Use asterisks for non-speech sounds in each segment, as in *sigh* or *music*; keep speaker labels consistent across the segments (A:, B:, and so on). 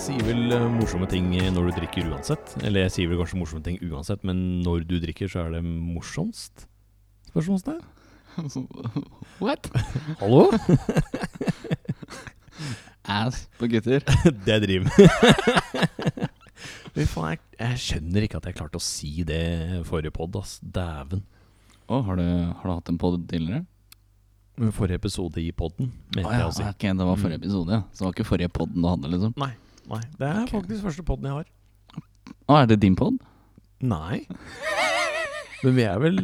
A: sier vel eh, morsomme ting når du drikker uansett. Eller jeg sier vel kanskje morsomme ting uansett, men når du drikker, så er det morsomst? Spørsmålstegn.
B: *laughs* What?
A: Hallo?
B: Ass på gutter.
A: *laughs* det jeg driver med. *laughs* Fy faen, jeg, jeg skjønner ikke at jeg klarte å si det i forrige pod, ass. Dæven.
B: Å, har, du, har du hatt en pod tidligere?
A: Men Forrige episode i poden,
B: Å
A: mente
B: ja,
A: jeg å si.
B: ok, det var forrige
A: Mm.
B: episode, ja. Så det var ikke forrige podden du hadde, liksom?
A: Nei. Nei, Det er
B: Ok.
A: faktisk første poden jeg har.
B: Å, er det din pod?
A: Nei. Men vi er vel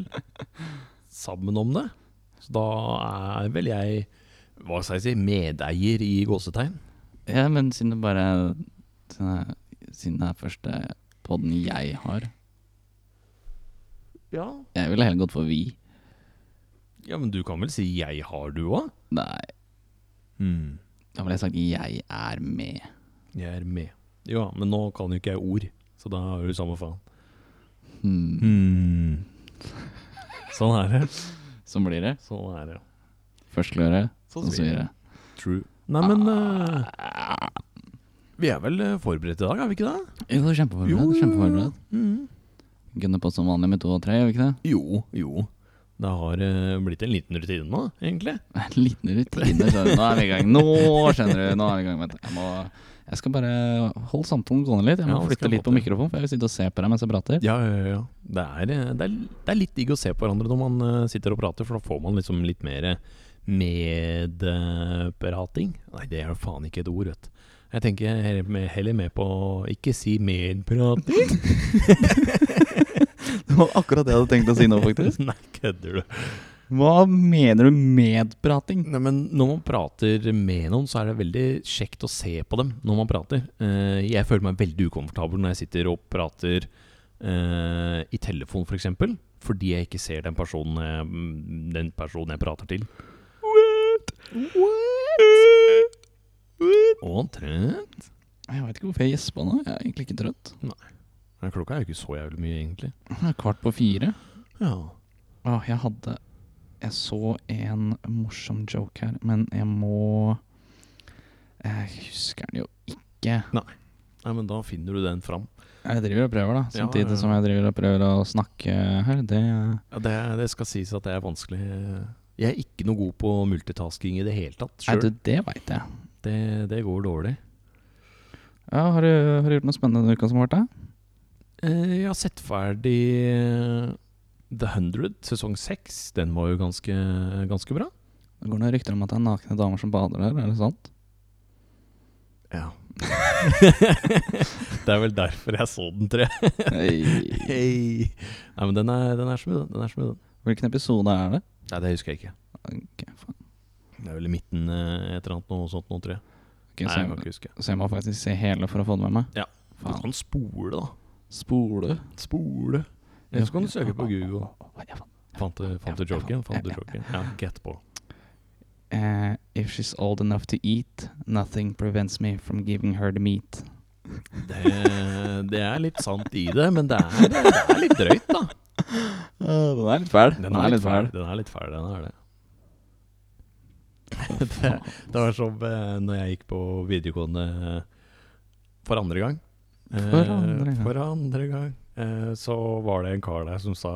A: sammen om det. Så da er vel jeg hva skal jeg si, medeier i gåsetegn.
B: Ja, men siden det bare Siden det- siden det er første podden jeg har.
A: Ja.
B: Jeg ville heller gått for vi.
A: ja, men du kan vel si 'jeg har du' òg?
B: Nei,
A: Mm.
B: da ville jeg sagt jeg er med.
A: Jeg er med. Ja, men nå kan jo ikke jeg ord, så da er det jo samme faen.
B: Hmm.
A: Mm. Sånn er det.
B: Sånn blir det.
A: Sånn er det.
B: Først klare,
A: Sånn
B: så svire.
A: True. Nei, men eh, Vi er vel eh, forberedt i dag, er vi ikke det?
B: Jo, det er kjempeforberedt. kjempeforberedt.
A: Mm.
B: Gunner på som vanlig med to og tre, gjør vi ikke det?
A: Jo, jo. Det har eh, blitt en liten rutine nå, egentlig.
B: *laughs* En liten rutine. skjønner du. Nå er vi i gang. Nå skjønner du. Nå er vi i gang. Vent, jeg, må, jeg skal bare holde samtalen gående litt. Jeg må
A: Ja, det skal
B: flytte litt på
A: jeg
B: mikrofonen, for jeg vil sitte og se på deg mens jeg prater.
A: Ja, ja, ja. ja. Det er, eh, det er, det er litt digg å se på hverandre når man eh, sitter og prater, for da får man liksom litt mer eh, medprating. Nei, det er jo faen ikke et ord, vet du. Jeg tenker jeg er heller med- heller med på å ikke si medprating. *laughs*
B: Det var akkurat det jeg hadde tenkt å si nå, faktisk.
A: Nei, kødder du.
B: *laughs* Hva mener du med prating?
A: Nei, men når man prater med noen, så er det veldig kjekt å se på dem når man prater. Eh, Jeg føler meg veldig ukomfortabel når jeg sitter og prater eh, i telefon, f.eks. For eksempel, fordi jeg ikke ser den personen jeg, den personen jeg prater til. What? What? trøtt.
B: Jeg veit ikke hvorfor jeg gjespa nå. Jeg er egentlig ikke trøtt.
A: Nei, Klokka er jo ikke så jævlig mye, egentlig.
B: Det er kvart på fire.
A: Ja.
B: Åh, jeg hadde Jeg så en morsom joke her, men jeg må Jeg husker den jo ikke.
A: Nei, men da finner du den fram.
B: Jeg driver og prøver, da.
A: Ja,
B: Samtidig
A: ja, ja.
B: som jeg driver og prøver å snakke her. Det
A: Ja, det, det skal sies at det er vanskelig. Jeg er ikke noe god på multitasking i det hele tatt.
B: Nei,
A: selv.
B: du, det veit jeg.
A: Det, det går dårlig.
B: Ja, har, du, har du gjort noe spennende denne uka som har vært? da?
A: Eh, Jeg har sett ferdig eh, The 100, sesong 6. Den var jo ganske, ganske bra.
B: Det går noen rykter om at det er nakne damer som bader der, er det sant?
A: Ja. *laughs* det er vel derfor jeg så den, tror jeg.
B: Hei.
A: Hei. Nei, men den er, den er som i den. den, er som i den.
B: *laughs* Hvilken episode er det?
A: Nei, det husker jeg ikke.
B: Ok, faen.
A: Det er vel i midten eh, et eller annet noe sånt nå, tror jeg. Nei,
B: Ok, så,
A: jeg kan
B: jeg,
A: ikke huske.
B: så jeg må faktisk se hele for å få det med meg?
A: Ja. Du
B: Faen.
A: kan spole, da.
B: Spole.
A: Spole. Eller så kan du søke på Google. Fant du, fant du
B: Ja, jeg
A: joken?
B: fant-
A: Fant du
B: ja, ja,
A: joken? Ja, get på.
B: Eh, if she's old enough to eat, nothing prevents me from giving her the meat.
A: Det, det er litt sant i det, men det er, det er litt drøyt, da.
B: den er litt fæl.
A: Den er litt fæl. Den er litt fæl, den er det. *laughs* det, det var som eh, når jeg gikk på videregående eh, for andre gang. Eh,
B: For andre gang.
A: for andre gang. Eh, så var det en kar der som sa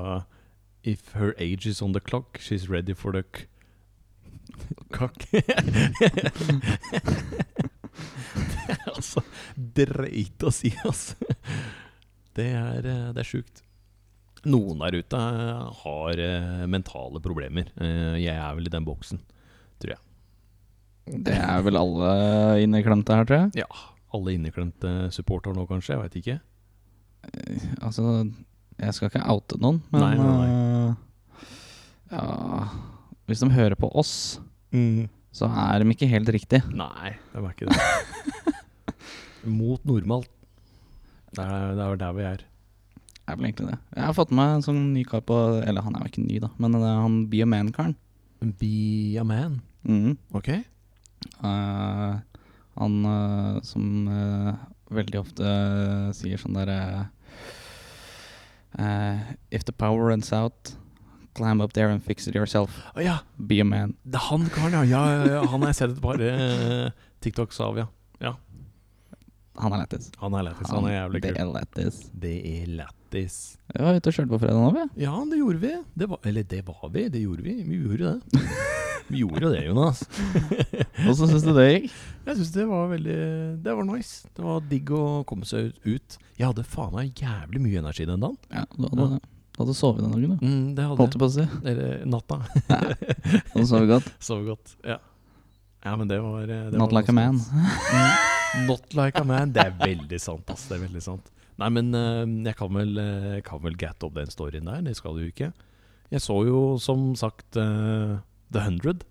A: If her age is on the clock, she's ready for the k... *laughs* Kakk. altså dreit å si, altså. Det er, eh, det er sjukt. Noen der ute eh, har eh, mentale problemer. Eh, Jeg er vel i den boksen.
B: Det er vel alle inneklemte her, tror jeg.
A: Ja. Alle inneklemte supportere nå, kanskje? Jeg veit ikke.
B: Altså, jeg skal ikke oute noen, men
A: Nei, nei,
B: eh, ja, Hvis de hører på oss, så er de ikke helt riktig.
A: Nei, det var ikke det. *laughs* Mot normalt. Det er, det er vel der vi er.
B: Det er vel egentlig det. Jeg har fått med meg en sånn ny kar på Eller han er jo ikke ny, da, men det er han Be a Man-karen.
A: Be a man.
B: Mhm.
A: Ok.
B: Eh, han eh, som eh, veldig ofte sier sånn derre If the power runs out, climb up there and fix it yourself.
A: Å ja,
B: Be a man.
A: det er han karen, ja. ja, ja, ja. Han har jeg sett et par eh, TikToks av, ja.
B: Han er lættis.
A: Han er lættis. Han er jævlig
B: Det
A: kul.
B: er lættis.
A: Det er lættis.
B: Vi var ute og kjørte på fredag nå, vi.
A: Ja, det gjorde vi. Det var, eller det var vi. Det gjorde vi. Vi gjorde det. *laughs* Vi gjorde det, Jonas.
B: Hvordan syns du det gikk?
A: Jeg syns det var veldig Det var nice. Det var digg å komme seg ut. Jeg hadde faen meg jævlig mye energi den dagen.
B: Ja, Du hadde, du hadde sovet den dagen, du.
A: Mm, det
B: Holdt
A: hadde
B: du på å si.
A: jeg. Eller natta.
B: Hadde sovet godt.
A: *laughs* Sov godt. Ja. ja, men det var eh, det
B: Not
A: var
B: like a man.
A: Mm. Not like a man. Det er veldig sant, ass. Det er veldig sant. Nei, men eh, jeg kan vel, eh, kan vel gatte opp den storyen der. Det skal du jo ikke. Jeg så jo som sagt eh, The 100.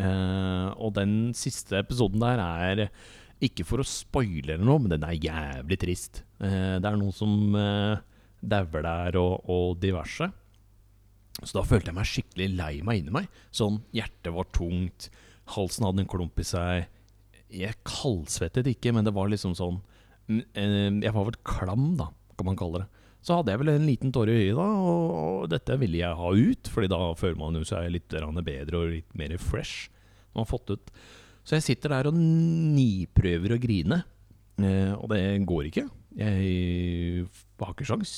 A: Eh, og den siste episoden der er ikke for å spoile eller noe, men den er jævlig trist. Eh, det er noen som eh, dauer der, og, og diverse. Så da følte jeg meg skikkelig lei meg inni meg. Sånn, Hjertet var tungt, halsen hadde en klump i seg. Jeg kaldsvettet ikke, men det var liksom sånn mm, eh, Jeg var vel klam, da, kan man kalle det. Så hadde jeg vel en liten tåre i øyet, da, og, og dette ville jeg ha ut. Fordi da føler man jo seg litt grann bedre og litt mer fresh. Når man har fått ut. Så jeg sitter der og niprøver å grine, eh, og det går ikke. Jeg har ikke sjans.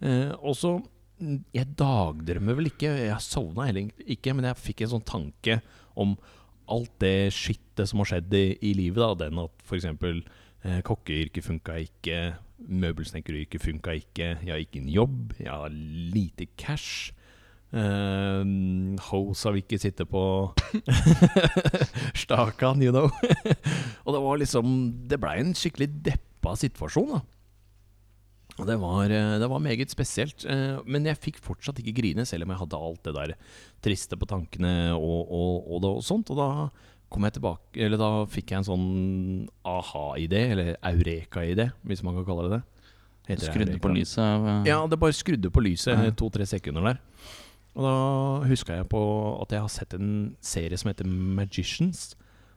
A: Eh, og så mm, Jeg dagdrømmer vel ikke, jeg sovna heller egentlig ikke, men jeg fikk en sånn tanke om alt det skittet som har skjedd i, i livet. Da. Den at f.eks. Eh, kokkeyrket funka ikke, møbelsnekkeryrket funka ikke, jeg har ikke en jobb, jeg har lite cash. Eh, Hosa vil ikke sitte
B: *laughs*
A: på stakan, you know. *laughs* og det var liksom Det blei en skikkelig deppa situasjon, da. Og det var, eh, det var meget spesielt. eh, Men jeg fikk fortsatt ikke grine, selv om jeg hadde alt det der triste på tankene og, og, og, det, og sånt. Og da kom jeg tilbake Eller da fikk jeg en sånn aha-idé, eller eureka-idé, hvis man kan kalle det det. Heter det
B: Skrudde på
A: eureka?
B: lyset av eh,
A: Ja, det bare skrudde på lyset
B: Ja.
A: to-tre sekunder der. Og da huska jeg på at jeg har sett en serie som heter Magicians.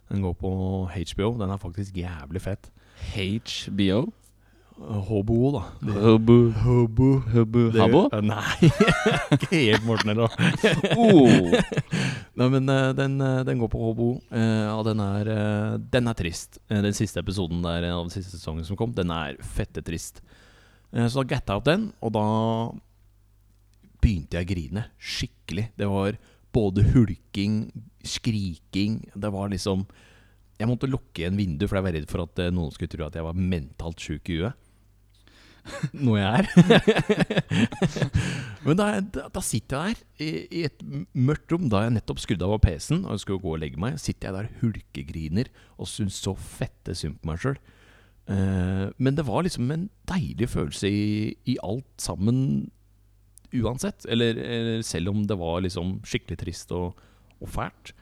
A: Den går på HBO. Den er faktisk jævlig fett.
B: HBO.
A: Hobo, da.
B: Hobo. *laughs*
A: Hobo.
B: Hobo. Habo? *laughs*
A: Nei, *laughs* ikke helt Morten heller.
B: Oh.
A: Nei, men eh, den, eh, den går på Hobo, eh, og den er, eh, den er trist. Eh, Den siste episoden der eh, av den siste sesongen som kom, den er fette trist. Eh, Så da gatta jeg opp den, og da begynte jeg å grine skikkelig. Det var både hulking, skriking Det var liksom Jeg måtte lukke igjen vinduet, for jeg var redd for at eh, noen skulle tro at jeg var mentalt sjuk i huet. *laughs* Noe jeg er. *laughs* Men da, da, da sitter jeg der i, i et m- mørkt rom, da jeg nettopp skrudde av PC-en og skulle gå og legge meg, sitter jeg der hulkegriner og syns så fette synd på meg sjøl. men det var liksom en deilig følelse i, i alt sammen uansett. Eller, eller selv om det var liksom skikkelig trist og, og fælt.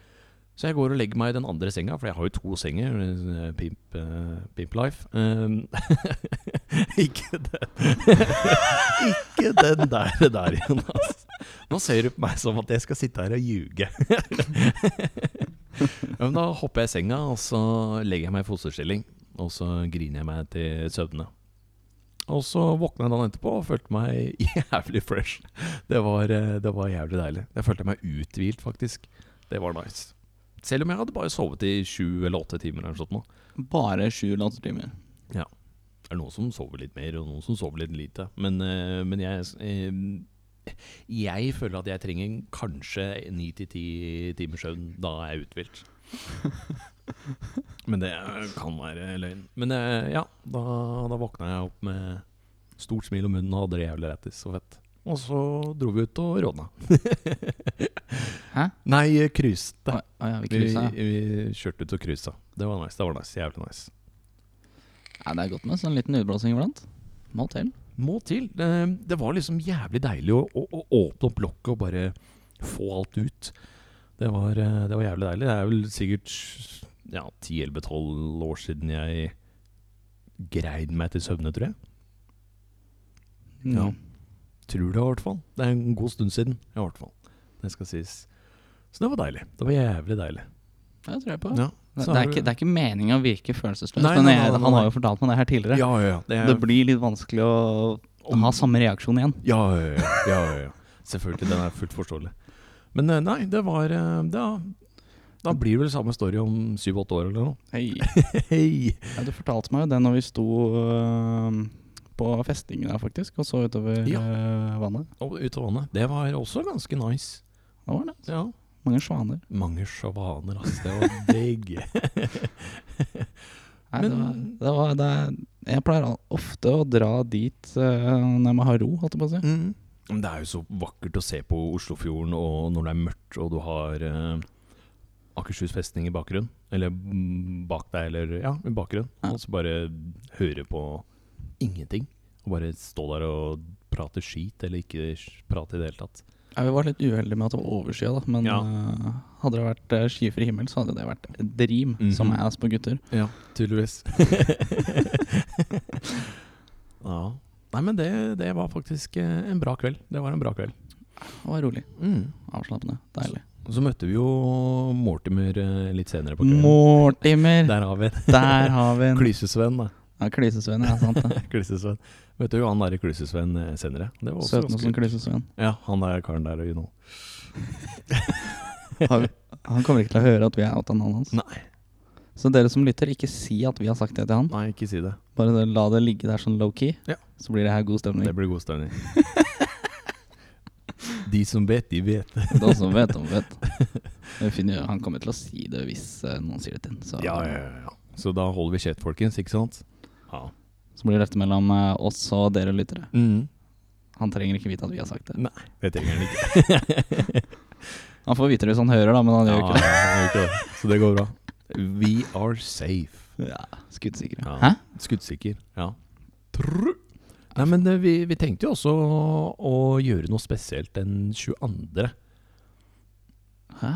A: Så jeg går og legger meg i den andre senga, for jeg har jo to senger. eh, Pimp, eh, pimp life. Um, *laughs* ikke den *laughs* Ikke den der, der, Jonas. Nå ser du på meg som at jeg skal sitte her og ljuge. ja, men da hopper jeg i senga, og så legger jeg meg i fosterstilling. Og så griner jeg meg til søvne. Og så våkna jeg dagen etterpå og følte meg *laughs* jævlig fresh. Det var, eh, det var jævlig deilig. Jeg følte meg uthvilt, faktisk. Det var nice. Selv om jeg hadde bare sovet i sju eller åtte timer. eller sånt nå.
B: *laughs* Bare sju landstimer.
A: Det er noen som sover litt mer, og noen som sover litt lite. Men, eh, men jeg eh, Jeg føler at jeg trenger kanskje ni til ti timers søvn. Da er jeg uthvilt. Men det kan være løgn. Men eh, ja, da, da våkna jeg opp med stort smil om munnen og hadde det jævlig lættis og fett. Og så dro vi ut og rådna. *laughs*
B: Hæ?
A: Nei, cruiste.
B: Å å ja, vi
A: Vi,
B: cruisa.
A: vi kjørte ut og cruisa. Det var nice. det var nice, Jævlig nice.
B: Ja, det er godt med sånn liten utblåsing iblant. Må til.
A: Må til. Det, det var liksom jævlig deilig å, å, å åpne opp lokket og bare få alt ut. Det var, eh, det var jævlig deilig. Det er vel sikkert ja, 10-11-12 år siden jeg greid meg til søvne, tror jeg. Ja. Tror det, i hvert fall. Det er en god stund siden, i hvert fall. Det skal sies. Så det var deilig. Det var jævlig deilig.
B: Det tror jeg på.
A: Ja,
B: Det,
A: så
B: det,
A: har
B: er
A: du-
B: ikke, det er ikke meningen å virke følelsesløs,
A: Nei,
B: men
A: nei,
B: jeg,
A: nei, nei,
B: han har
A: nei.
B: jo fortalt meg det her tidligere.
A: ja, ja, ja. Det er,
B: Det blir litt vanskelig å
A: Om-
B: ha samme reaksjon igjen.
A: Ja, ja, ja, ja, ja, ja. Selvfølgelig, den er fullt forståelig. Men eh, nei, det var eh, det, Da blir det vel samme story om syv-åtte år eller noe.
B: Hei.
A: Hei!
B: *laughs* Ja, du fortalte meg jo det når vi sto øh, på festningen der, faktisk, og så utover
A: Ja.
B: øh, vannet.
A: Og ut av vannet. Det var også ganske nice.
B: Da var det
A: Ja.
B: mange svaner.
A: Mange sjavaner, ass. Det var
B: *laughs*
A: digg.
B: Nei, det var,
A: Men-
B: det var, det er, jeg pleier al- ofte å dra dit øh, når jeg må ha ro, holdt jeg på å si.
A: Men Det er jo så vakkert å se på Oslofjorden og når det er mørkt og du har eh, Akershus festning i bakgrunnen. Eller mm, bak deg, eller ja, i bakgrunnen.
B: Ja.
A: Og så bare høre på ingenting. Og bare stå der og prate skit, eller ikke sk- prate i det hele tatt.
B: Ja, vi var litt uheldige med at det var overskya, da, men
A: Ja.
B: øh, hadde det vært øh, skyfri himmel, så hadde det vært et dream,
A: Mhm.
B: som er på gutter.
A: Ja, *laughs* tydeligvis. ja. Nei, men det, det var faktisk eh, en bra kveld. Det var en bra kveld.
B: Og var rolig,
A: Mm.
B: avslappende, deilig.
A: Så møtte vi jo Mortimer eh, litt senere på kvelden.
B: Mortimer!
A: Der har vi en
B: Der har vi en
A: klysesvenn, da. *laughs*
B: ja, klysesvenn, ja, sant det.
A: Klysesvenn. Vet du jo han derre klysesvenn eh, senere? Det var også
B: Søten som
A: ganske *laughs*
B: klysesvenn.
A: Ja, han der karen der, you know.
B: Har vi- Han kommer ikke til å høre at vi er outa navnet hans.
A: Nei.
B: Så dere som lytter, ikke si at vi har sagt det til han.
A: Nei, ikke si det.
B: Bare det- la det ligge der sånn low-key,
A: Ja.
B: så blir det her god stemning.
A: Det blir god stemning. *laughs* De som vet, de vet.
B: De som vet, de vet. Jeg finner, han kommer til å si det hvis eh, noen sier det til ham. Så,
A: Ja, ja, ja, ja. Så da holder vi kjeft, folkens, ikke sant? Ja.
B: så blir dette mellom eh, oss og dere lyttere.
A: Mm.
B: Han trenger ikke vite at vi har sagt det.
A: Det trenger han ikke.
B: Han får vite det hvis han hører, da, men han
A: Ja,
B: gjør jo ikke det.
A: han gjør ikke det. Så det går bra. We are safe.
B: *laughs* Ja, Skuddsikre.
A: Ja.
B: Hæ?
A: Skuddsikker, ja. Trrr. Nei, men eh, vi, vi tenkte jo også å gjøre noe spesielt den 22.
B: Hæ?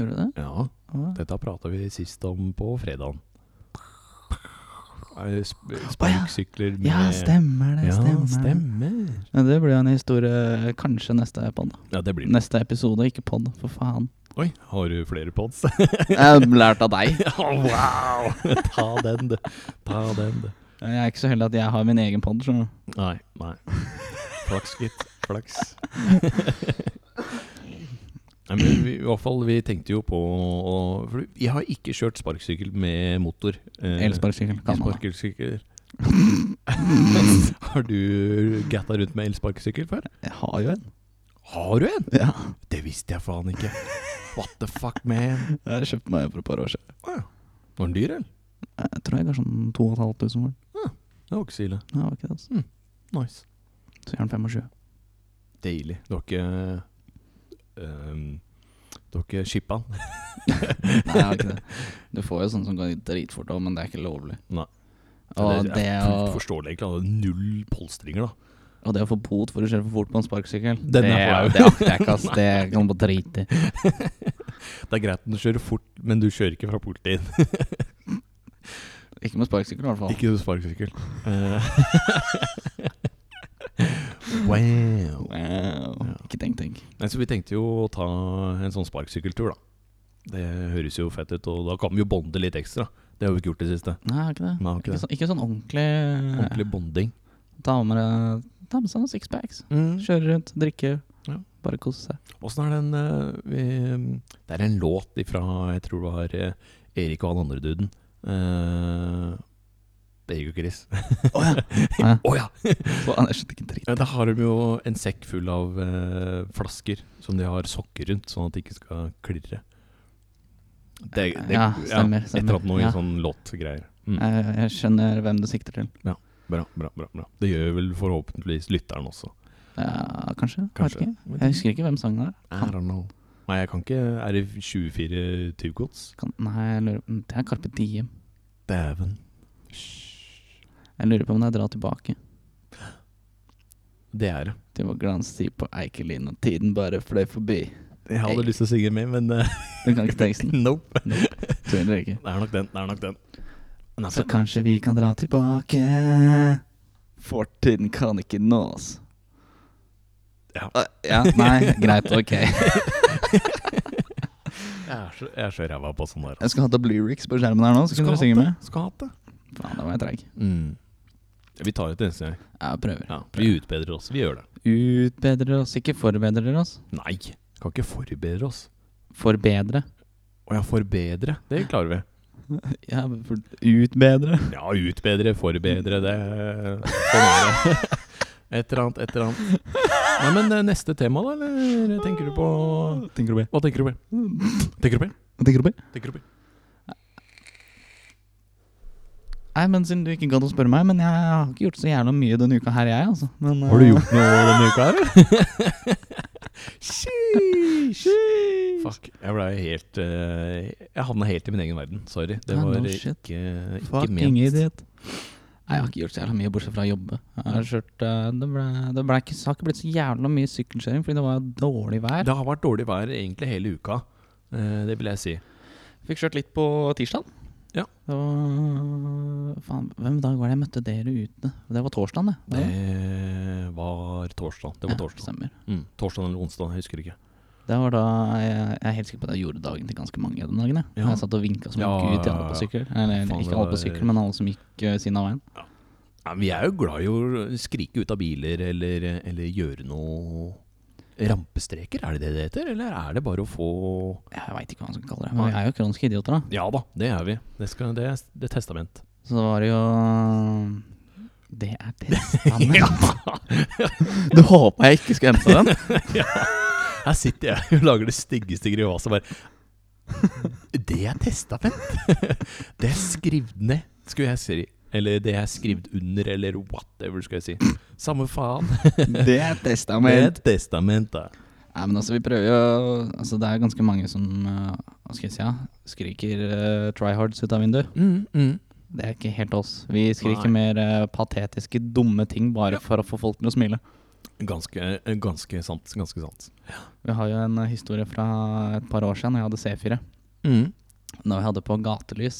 B: Gjorde du det?
A: Ja,
B: Hva?
A: dette prata vi sist om på fredagen. Eh, sp-
B: ja.
A: Sparksykler med
B: Ja, stemmer det.
A: Ja,
B: stemmer.
A: stemmer.
B: Ja, det blir jo en historie kanskje neste pod.
A: Ja, det blir det.
B: Neste episode, ikke pod, for
A: *laughs*
B: faen.
A: Oi, har du flere pods? *laughs*
B: Jeg har lært av deg.
A: Ja, wow! Ta den, du. Ta den, du.
B: Jeg er ikke så heldig at jeg har min egen pod. skjønner du.
A: Nei, nei. Flaks, gitt. Flaks. nei, men vi, I hvert fall, vi tenkte jo på å For jeg har ikke kjørt sparkesykkel med motor. Eh,
B: Elsparkesykkel kan man. da.
A: Elsparkesykkel. *laughs* har du gatta rundt med elsparkesykkel før?
B: Jeg har jo en.
A: Har du en?
B: Ja.
A: Det visste jeg faen ikke. What the fuck, man?
B: Jeg har kjøpt meg for et par år siden.
A: Var den dyr, eller?
B: Jeg tror jeg ga sånn 2500 for den.
A: Det var ikke så ille.
B: Nei, det var ikke det, altså.
A: Nice.
B: Så gjør den 25.
A: Deilig. Du har ikke ehm, Du har ikke shippa den?
B: *laughs* Nei, jeg har ikke det. *laughs* Du får jo sånne som går dritfort òg, men det er ikke lovlig.
A: Nei.
B: Og
A: det
B: det
A: er
B: å,
A: fullt forståelig. egentlig, da. Null polstringer, da.
B: og det å få bot for å kjøre for fort på en sparkesykkel,
A: Den er
B: det,
A: flau.
B: det akter
A: *laughs*
B: jeg ikke, ass. Det kan du bare drite i.
A: Det er greit når du kjører fort, men du kjører ikke fra politiet.
B: Ikke med sparkesykkel, i hvert fall.
A: Ikke du *laughs* sparkesykkel. Eh. wow.
B: Wow.
A: Ja.
B: Ikke tenk, tenk.
A: Nei, så vi tenkte jo å ta en sånn sparkesykkeltur, da. Det høres jo fett ut, og da kan vi jo bonde litt ekstra. Det har vi ikke gjort i det siste.
B: Nei, jeg har ikke det.
A: Nei, har ikke
B: Ikke
A: det.
B: sånn, ikke sånn ordentlig,
A: Ordentlig bonding.
B: Ta med, deg- ta med seg noen sixpacks.
A: Mm.
B: Kjøre rundt, drikke,
A: Ja.
B: bare kose seg.
A: Åssen er den eh, vi, Det er en låt ifra Jeg tror det var eh, Erik og han andre duden. Eh, Erik og Chris.
B: Å *laughs* ja.
A: Å ja!
B: Jeg skjønte ikke en dritt.
A: Ja, Da har de jo en sekk full av eh, flasker som de har sokker rundt, sånn at de ikke skal klirre. Det, det,
B: Ja, stemmer,
A: Et eller annet noe
B: stemmer. Ja.
A: i sånn låtgreier. Mm.
B: Jeg, Eh, jeg skjønner hvem du sikter til.
A: Bra, bra, bra, bra. Det gjør vel forhåpentligvis lytteren også.
B: Ja, kanskje?
A: Kanskje.
B: Kanskje. Ikke. Jeg husker ikke hvem sangen er.
A: I don't know. Nei, jeg kan ikke Er det 24 tyvgods?
B: Kan, nei, jeg lurer mm, Det er Carpe Diem.
A: Dæven.
B: Jeg lurer på om det er Dra tilbake.
A: Det er det.
B: Det var glanstid på Eikelin, og tiden bare fløy forbi.
A: Jeg hadde
B: Hey.
A: lyst til å synge med, men eh, *laughs*
B: Du kan ikke teksten.
A: nope.
B: Tøller ikke.
A: Det er nok den. Det er nok den. altså, Den er
B: Så
A: fett.
B: kanskje vi kan dra tilbake. Fortiden kan ikke nås.
A: Ja.
B: Æ, ja nei, greit, ok.
A: Jeg er så, jeg er så ræva på sånn der.
B: Jeg skal ha opp lyrics på skjermen her nå, så kan dere synge med.
A: Skal hatt det.
B: Faen, da var jeg treig.
A: Mm. Vi tar det til neste gang.
B: Jeg prøver.
A: Ja, vi utbedrer oss. Vi gjør det.
B: Utbedrer oss, ikke forbedrer oss.
A: Nei, kan ikke forbedre oss.
B: Forbedre.
A: Å ja, forbedre. Det klarer vi.
B: Ja, men for utbedre.
A: Ja, utbedre, forbedre det Sånn er det. *laughs* Et eller annet, et eller annet. Nei, men eh, neste tema, da? Eller tenker du på
B: Tenker du på
A: Hva tenker du på? Tenker du på?
B: Tenker du på
A: Tenker du på?
B: Nei, men siden du ikke gadd å spørre meg, men jeg har ikke gjort så jævla mye denne uka her, jeg, altså. Men, eh,
A: noe denne uka
B: *laughs*
A: her, eller? *laughs* Fuck. Jeg blei helt eh, Jeg havna helt i min egen verden. Sorry. Det
B: Ja,
A: var
B: no
A: ikke,
B: shit.
A: ikke
B: Fucking
A: ment.
B: idiot. Nei, jeg har ikke gjort så jævla mye bortsett fra å jobbe. Jeg har kjørt, eh, det ble, det ble ikke, har ikke blitt så jævla mye sykkelkjøring fordi det var dårlig vær.
A: Det har vært dårlig vær egentlig hele uka. Eh, Det vil jeg si.
B: Fikk kjørt litt på tirsdag.
A: Ja.
B: Det var, faen, hvem dag var det jeg møtte dere ute? Det var torsdag, det. Var det?
A: Det var torsdag. Det var
B: Ja,
A: torsdag.
B: stemmer.
A: Mm, torsdag eller onsdag, jeg husker ikke.
B: Det var da jeg, jeg er helt sikker på at jeg gjorde dagen til ganske mange den dagen. Jeg,
A: Ja.
B: jeg satt og vinka som en
A: Ja,
B: gud til
A: ja,
B: alle på
A: ja.
B: sykkel. Eller
A: Faen, det
B: ikke alle
A: var-
B: på sykkel, men alle som gikk eh, siden av veien.
A: Nei, men vi er jo glad i å skrike ut av biler eller, eller gjøre noe rampestreker. Er det det det heter, eller er det bare å få
B: Jeg veit ikke hva man skal kalle det. Men vi er jo kroniske idioter, da.
A: Ja da, det er vi. Det, skal, det er det er testament.
B: Så det var jo Det er
A: *laughs*
B: testament.
A: Ja. *laughs*
B: Du håpa jeg ikke skulle hente den?
A: Her sitter jeg og lager det styggeste grivaset og bare Det er testament! Det er skrevet ned, skulle jeg si. Eller det er skrevet under, eller whatever, skal jeg si. Samme faen.
B: *laughs* Det er
A: Det er
B: testament.
A: et testament, da.
B: Nei, men altså, vi prøver jo Altså, det er ganske mange som eh, Hva skal jeg si, ja? Skriker eh, tryhards ut av vinduet.
A: Mm,
B: Det er ikke helt oss. Vi skriker mer eh, patetiske, dumme ting bare for å få folk til å smile.
A: Ganske, ganske sant. Ganske sant.
B: Vi har jo en eh, historie fra et par år siden da jeg hadde C4.
A: Mm.
B: Når vi hadde på gatelys.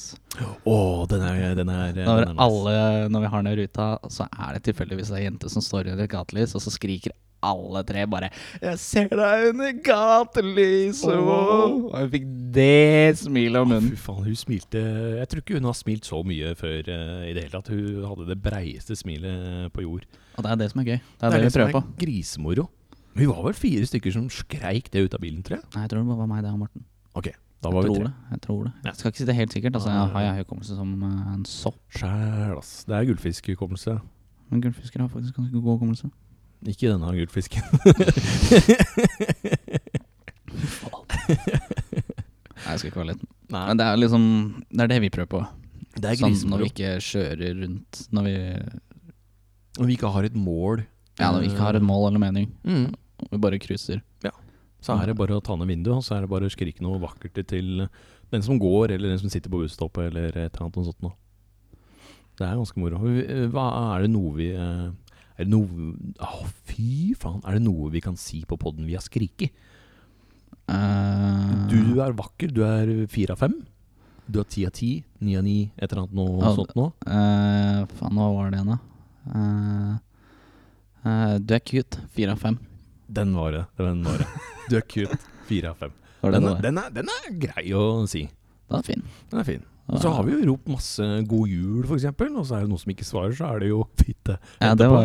A: Å, den er, den er, den
B: Når,
A: er nice.
B: alle, når vi har den i ruta, så er det tilfeldigvis ei jente som står under et gatelys, og så skriker alle tre bare 'Jeg ser deg under gatelyset!'
A: Åh.
B: Og jeg fikk det smilet om munnen.
A: Fy faen, hun smilte Jeg tror ikke hun har smilt så mye før eh, i det hele tatt. Hun hadde det breieste smilet på jord.
B: Og det er det som er gøy. Det er det, vi
A: som
B: prøver på.
A: er grisemoro. Vi var vel fire stykker som skreik det ut av bilen, tror jeg.
B: Nei, jeg tror det bare var meg, det og Morten.
A: Da
B: Jeg
A: var vi
B: tror
A: tre.
B: det. Jeg tror det.
A: Ja.
B: Jeg skal ikke si det helt sikkert. Altså,
A: Nei.
B: jeg har jeg hukommelse som eh, en sopp.
A: Sjæl, ass. Det er gullfiskhukommelse.
B: Men gullfisker har faktisk ganske god hukommelse.
A: Ikke denne gullfisken.
B: *laughs* Nei, jeg skal ikke være liten.
A: Nei,
B: Men det er liksom Det er det vi prøver på.
A: det er
B: Sånn når
A: grisemoro.
B: vi ikke kjører rundt Når vi
A: Når vi ikke har et mål,
B: Ja, når vi ikke har et mål eller mening.
A: mm,
B: Og vi bare cruiser.
A: så er det bare å ta ned vinduet, og så er det bare å skrike noe vakkert til den som går, eller den som sitter på busstoppet, eller et eller annet noe sånt noe. Det er ganske moro. eh, Hva er det noe vi eh, Er det noe Å, fy faen! Er det noe vi kan si på poden vi har skriket?
B: Eh,
A: Du er vakker, du er fire av fem. Du er ti av ti, ni av ni, et eller annet noe
B: Ja,
A: sånt noe.
B: eh, Faen, hva var det igjen, da? Eh, eh, du er cute. Fire av fem.
A: Den var det. Den var det. *laughs* Du er cute. Fire av fem.
B: Var det
A: Den
B: det
A: er,
B: var?
A: den, er, den er grei å si.
B: Den er fin.
A: Den er fin. Og så har vi jo ropt masse 'god jul', for eksempel, og så er det noen som ikke svarer, så er det jo *laughs* fitte.
B: Ja, det
A: etterpå.
B: var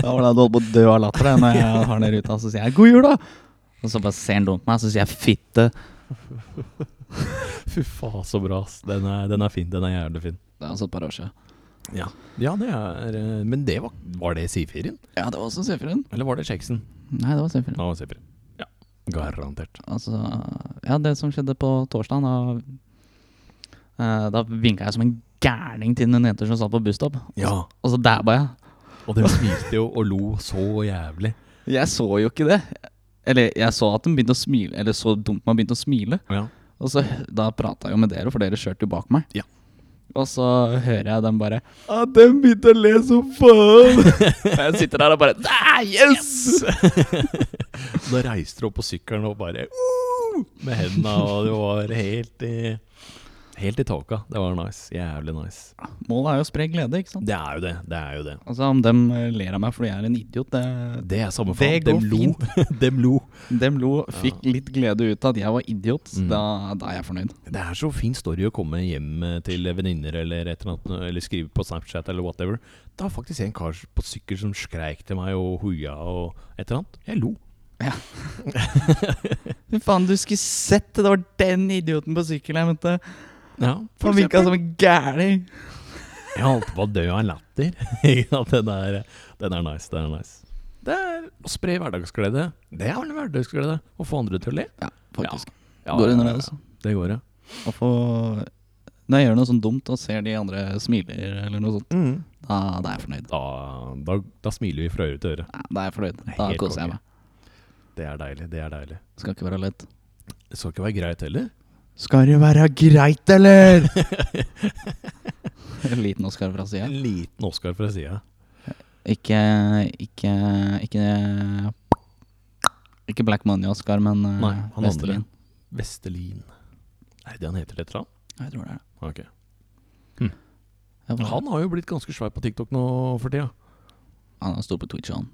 A: *laughs*
B: Da var det du holdt på å dø av latter da, når jeg har den i ruta, så sier jeg 'god jul', da! Og så bare ser han dumt på meg, så sier jeg 'fitte'.
A: Fy faen, så bra. ass. Den er, den er fin. Den er jævlig fin.
B: Det er altså et par år siden.
A: Ja, ja det er eh, Men det var, var det Sifiren?
B: Ja, det var også Seferin.
A: Eller var det Kjeksen?
B: Nei, det var Seferin.
A: Ja, det var Sifiren. Ja, garantert.
B: Altså, ja, det som skjedde på torsdag, da eh, Da vinka jeg som en gærning til den jenta som satt på busstopp,
A: Ja,
B: og så dabba jeg.
A: og de smilte jo og lo så jævlig.
B: Jeg så jo ikke det. Eller jeg så at den begynte å smile, eller så dumt man begynte å smile.
A: Ja.
B: Og så da prata jeg jo med dere, for dere kjørte jo bak meg.
A: Ja.
B: Og så hører jeg dem bare Ja, den begynte å le som faen! *laughs* og jeg sitter der og bare «Ah, Yes!
A: Da reiste du opp på sykkelen og bare «Uh!» med hendene, og det var helt i Helt i tåka. Det var nice. Jævlig nice.
B: Målet er jo å spre glede, ikke sant?
A: Det er jo det. Det er jo det.
B: Altså, om dem eh, ler av meg fordi jeg er en idiot, det
A: Det er samme
B: Det
A: faen. Dem
B: går
A: lo. *laughs* Dem lo.
B: Dem lo, fikk litt glede ut av at jeg var idiot.
A: Mm.
B: Da, da er jeg fornøyd.
A: Det er så fin story å komme hjem eh, til venninner eller et eller annet, eller skrive på Snapchat eller whatever. Det var faktisk en kar på sykkel som skreik til meg og hoia og et eller annet. Jeg lo.
B: Fy faen, du skulle sett det! Det var den idioten på sykkelen jeg møtte.
A: Ja, for
B: Han virka
A: eksempel.
B: som en gærning.
A: Jeg holdt på å dø av latter. *laughs* Ikke sant? den, er, den er nice. Den er nice. Det er å spre hverdagsglede. Det er vel hverdagsglede. Å få andre til å le.
B: Ja, faktisk.
A: Ja,
B: Går
A: ja,
B: under
A: ja,
B: det altså?
A: ja.
B: også.
A: Det går, ja.
B: Å få Når jeg gjør noe sånn dumt og ser de andre smiler eller noe sånt, da, da er jeg fornøyd.
A: Da, da, da smiler vi fra øre til øre.
B: Ja, Da er jeg fornøyd.
A: Det er
B: Da
A: helt
B: koser jeg
A: konge.
B: meg.
A: Det er deilig. Det er deilig.
B: Skal ikke være lett.
A: Det skal ikke være greit heller.
B: Skal det være greit, eller? *laughs* en liten Oscar fra sida.
A: En liten Oscar fra sida.
B: Ikke Ikke Ikke Ikke Black Money-Oscar, men eh,
A: Nei, han
B: Vestelin.
A: Vestelin. Er det det han heter etter han?
B: Jeg tror det er det.
A: Ok.
B: Jeg
A: Men
B: var-
A: Han har jo blitt ganske svær på TikTok nå for tida.
B: Han er stor på Twitch, han.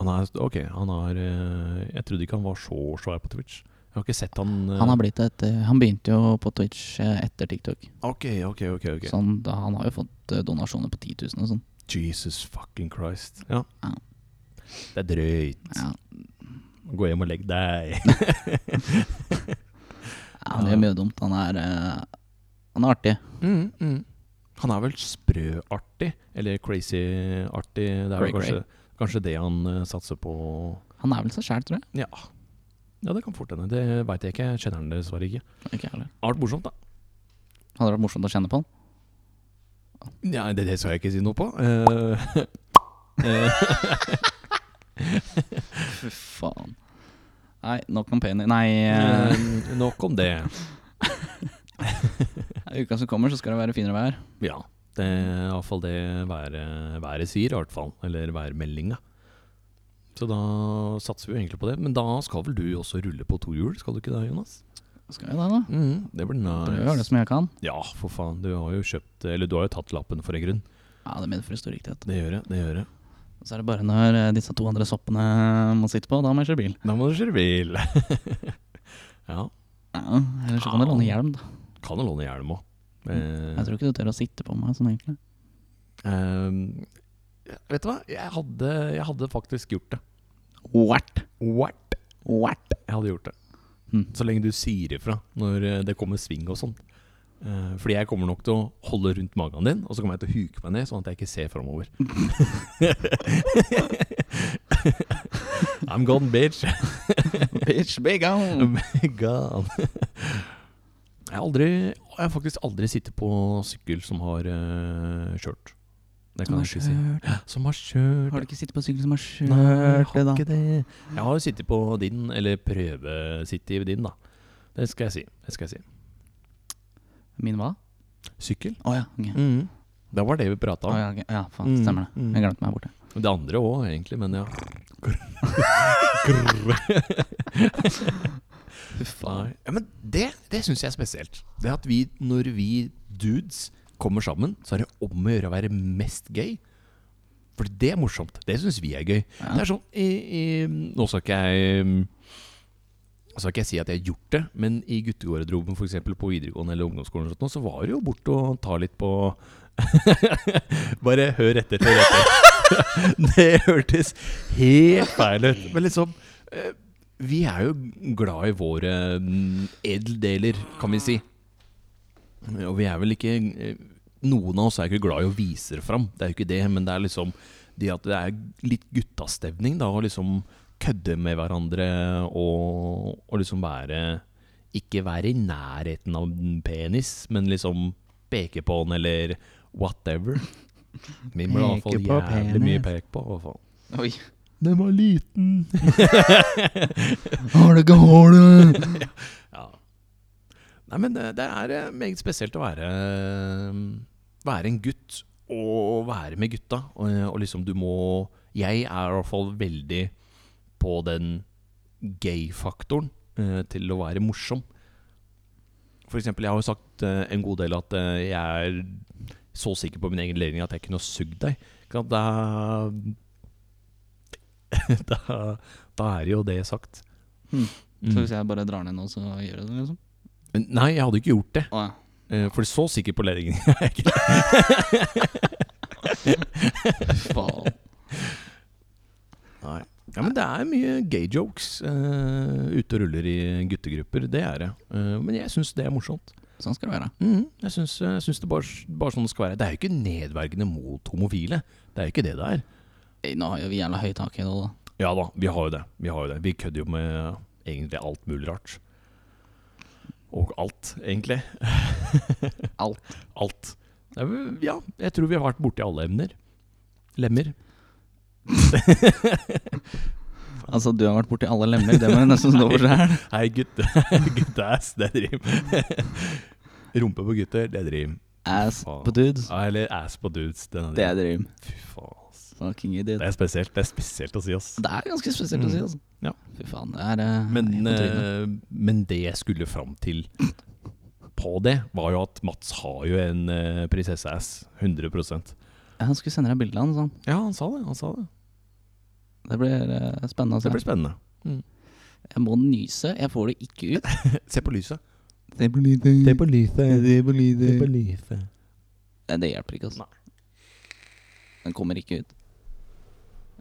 A: Han er, ok, han er eh, Jeg trodde ikke han var så svær på Twitch. Jeg har ikke sett han eh,
B: Han, har blitt et, eh, han begynte jo på Twitch eh, etter TikTok.
A: Ok, ok, ok. ok
B: Så han, da, han har jo fått eh, donasjoner på 10 000 og sånn.
A: Jesus fucking Christ. Ja.
B: Ja.
A: Det er drøyt.
B: Ja,
A: Gå hjem og legg deg. *laughs*
B: Ja, han gjør mye dumt. Han er, eh, han er artig.
A: Mm, mm. Han er vel sprø-artig, eller crazy-artig. Det er
B: Cray-cray.
A: vel kanskje, kanskje det han eh, satser på.
B: Han er vel seg sjæl, tror jeg.
A: Ja. ja, det kan fort hende. Det veit jeg ikke. Jeg kjenner han dessverre ikke.
B: Ikke jeg heller.
A: Det har vært morsomt, da.
B: Hadde det vært morsomt å kjenne på han?
A: Ja, det, det skal jeg ikke si noe på. Eh, *laughs* eh,
B: Fy faen. Nei, nok om Penny. Nei,
A: *laughs*
B: eh,
A: eh, nok om det.
B: uka som kommer, så skal det være finere vær.
A: Ja. Det er iallfall det været, været sier, i hvert fall. Eller værmeldinga. Så da satser vi jo egentlig på det. Men da skal vel du også rulle på to hjul, skal du ikke det, Jonas?
B: Skal vi det, da?
A: Mm-hmm. Det blir
B: Prøver å gjøre det
A: nice.
B: som jeg kan.
A: Ja, for faen. Du har jo kjøpt Eller du har jo tatt lappen for en grunn.
B: Ja, det medfører stor riktighet.
A: Det gjør jeg. det gjør jeg
B: Så er det bare når eh, disse to andre soppene må sitte på, da må jeg kjøre bil.
A: Da må du kjøre bil. *laughs* ja.
B: Ja, Ellers så kan jeg
A: Au.
B: låne hjelm, da.
A: Kan jo låne hjelm òg.
B: Jeg
A: Mm.
B: tror ikke du tør å sitte på meg sånn, egentlig.
A: Ehm, vet du hva? Jeg hadde, jeg hadde faktisk gjort det.
B: Wert.
A: What?
B: Wert.
A: Jeg hadde gjort det.
B: Mm.
A: Så lenge du sier ifra når eh, det kommer sving og sånn. Eh, Fordi jeg kommer nok til å holde rundt magen din, og så kommer jeg til å huke meg ned, sånn at jeg ikke ser framover. *laughs* I'm gone, bitch.
B: *laughs*
A: *laughs*
B: Bitch, big on.
A: gone. Jeg har, aldri, jeg har faktisk aldri sittet på sykkel som har eh, kjørt. Det kan jeg ikke si. Som har kjørt.
B: Har du ikke sittet på sykkel som har
A: Nei, jeg
B: kjørt det,
A: har
B: da?
A: ikke det. Jeg har jo sittet på din, eller prøvesittet i din, da. Det skal jeg si. Det skal jeg si.
B: Min hva?
A: Sykkel.
B: Å ja. ok.
A: Det var det vi prata om.
B: Å, ja, ok. ja, faen, stemmer det.
A: Mm, mm.
B: Jeg glemte meg borte.
A: Det andre òg, egentlig, men ja. Nei. ja men det, det syns jeg er spesielt. Det at vi, når vi dudes kommer sammen, så er det om å gjøre å være mest gøy. For det er morsomt. Det syns vi er gøy.
B: Ja.
A: Det er sånn i, i, Nå skal ikke jeg um, skal ikke jeg si at jeg har gjort det, men i guttegarderoben for eksempel på videregående eller ungdomsskolen, og sånt, nå, så var det jo bort og ta litt på *laughs* Bare hør etter. Hør etter. *laughs* det hørtes helt feil ut. Men liksom eh, Vi er jo glad i våre mm, edeldeler, kan vi si. Og vi er vel ikke eh, Noen av oss er ikke glad i å vise det fram, det er jo ikke det, men det er liksom det at det er litt guttastemning, da, å liksom kødde med hverandre og, og liksom være Ikke være i nærheten av en penis, men liksom peke på den, eller whatever. Min ble i hvert fall
B: Peke på
A: jævlig mye
B: penis.
A: pek på, i hvert fall.
B: Oi.
A: Den var liten.
B: *laughs* Har du ikke hår, du?
A: Ja. Nei, men det, det er eh, meget spesielt å være eh, Være en gutt og være med gutta. Og, eh, og liksom, du må Jeg er i hvert fall veldig på den gay-faktoren eh, til å være morsom. For eksempel, jeg har jo sagt eh, en god del at eh, jeg er så sikker på min egen ledning at jeg kunne ha sugd deg. Ikke sant? Da, *laughs* da, da er jo det sagt.
B: Hmm.
A: Mm.
B: Så hvis jeg bare drar ned nå, så gjør jeg det, liksom?
A: Nei, jeg hadde ikke gjort det.
B: Å ja.
A: Eh, For så sikker på ledningen *laughs* er jeg ikke.
B: Faen.
A: Ja, men det er mye gay jokes eh, ute og ruller i guttegrupper. Det er det. Eh, men jeg syns det er morsomt.
B: Sånn skal det være.
A: Mm, jeg syns jeg syns det bare, bare sånn det skal være. Det er jo ikke nedverdigende mot homofile. Det er jo ikke det det er.
B: Nei, Nå har jo vi jævla høy tak i det, da.
A: Ja da, vi har jo det. Vi, har jo det. vi kødder jo med egentlig alt mulig rart. Og alt, egentlig.
B: Alt.
A: *laughs* Alt. Det er vel- Ja, jeg tror vi har vært borti alle emner. Lemmer.
B: Altså, du har vært borti alle lemmer, det må jeg nesten stå for sjøl.
A: Hei, gutte. *laughs* Gutteass, det driver. *laughs* Rumpe på gutter, det driver.
B: Ass på dudes,
A: Ja, Eller ass på dudes. Den
B: det
A: er
B: er dream.
A: Fy faen. ass.
B: Fucking
A: Det
B: idiot.
A: er spesielt. Det er spesielt å si, ass.
B: Det er ganske spesielt å si, altså.
A: Ja.
B: Fy faen, det er eh,
A: Men,
B: helt på trynet.
A: eh, men det jeg skulle fram til på det, var jo at Mats har jo en eh, prinsesse-ass. 100
B: Ja, Han skulle sende deg bilde av den, sånn.
A: Ja, han sa det. han sa Det
B: Det blir eh, spennende å
A: Det
B: se.
A: blir spennende.
B: Jeg må nyse, jeg får det ikke ut.
A: Se på lyset.
B: *laughs* Det blir lite. Det,
A: lyset.
B: blir lite.
A: lyset.
B: Nei, det hjelper ikke, altså. Den kommer ikke ut.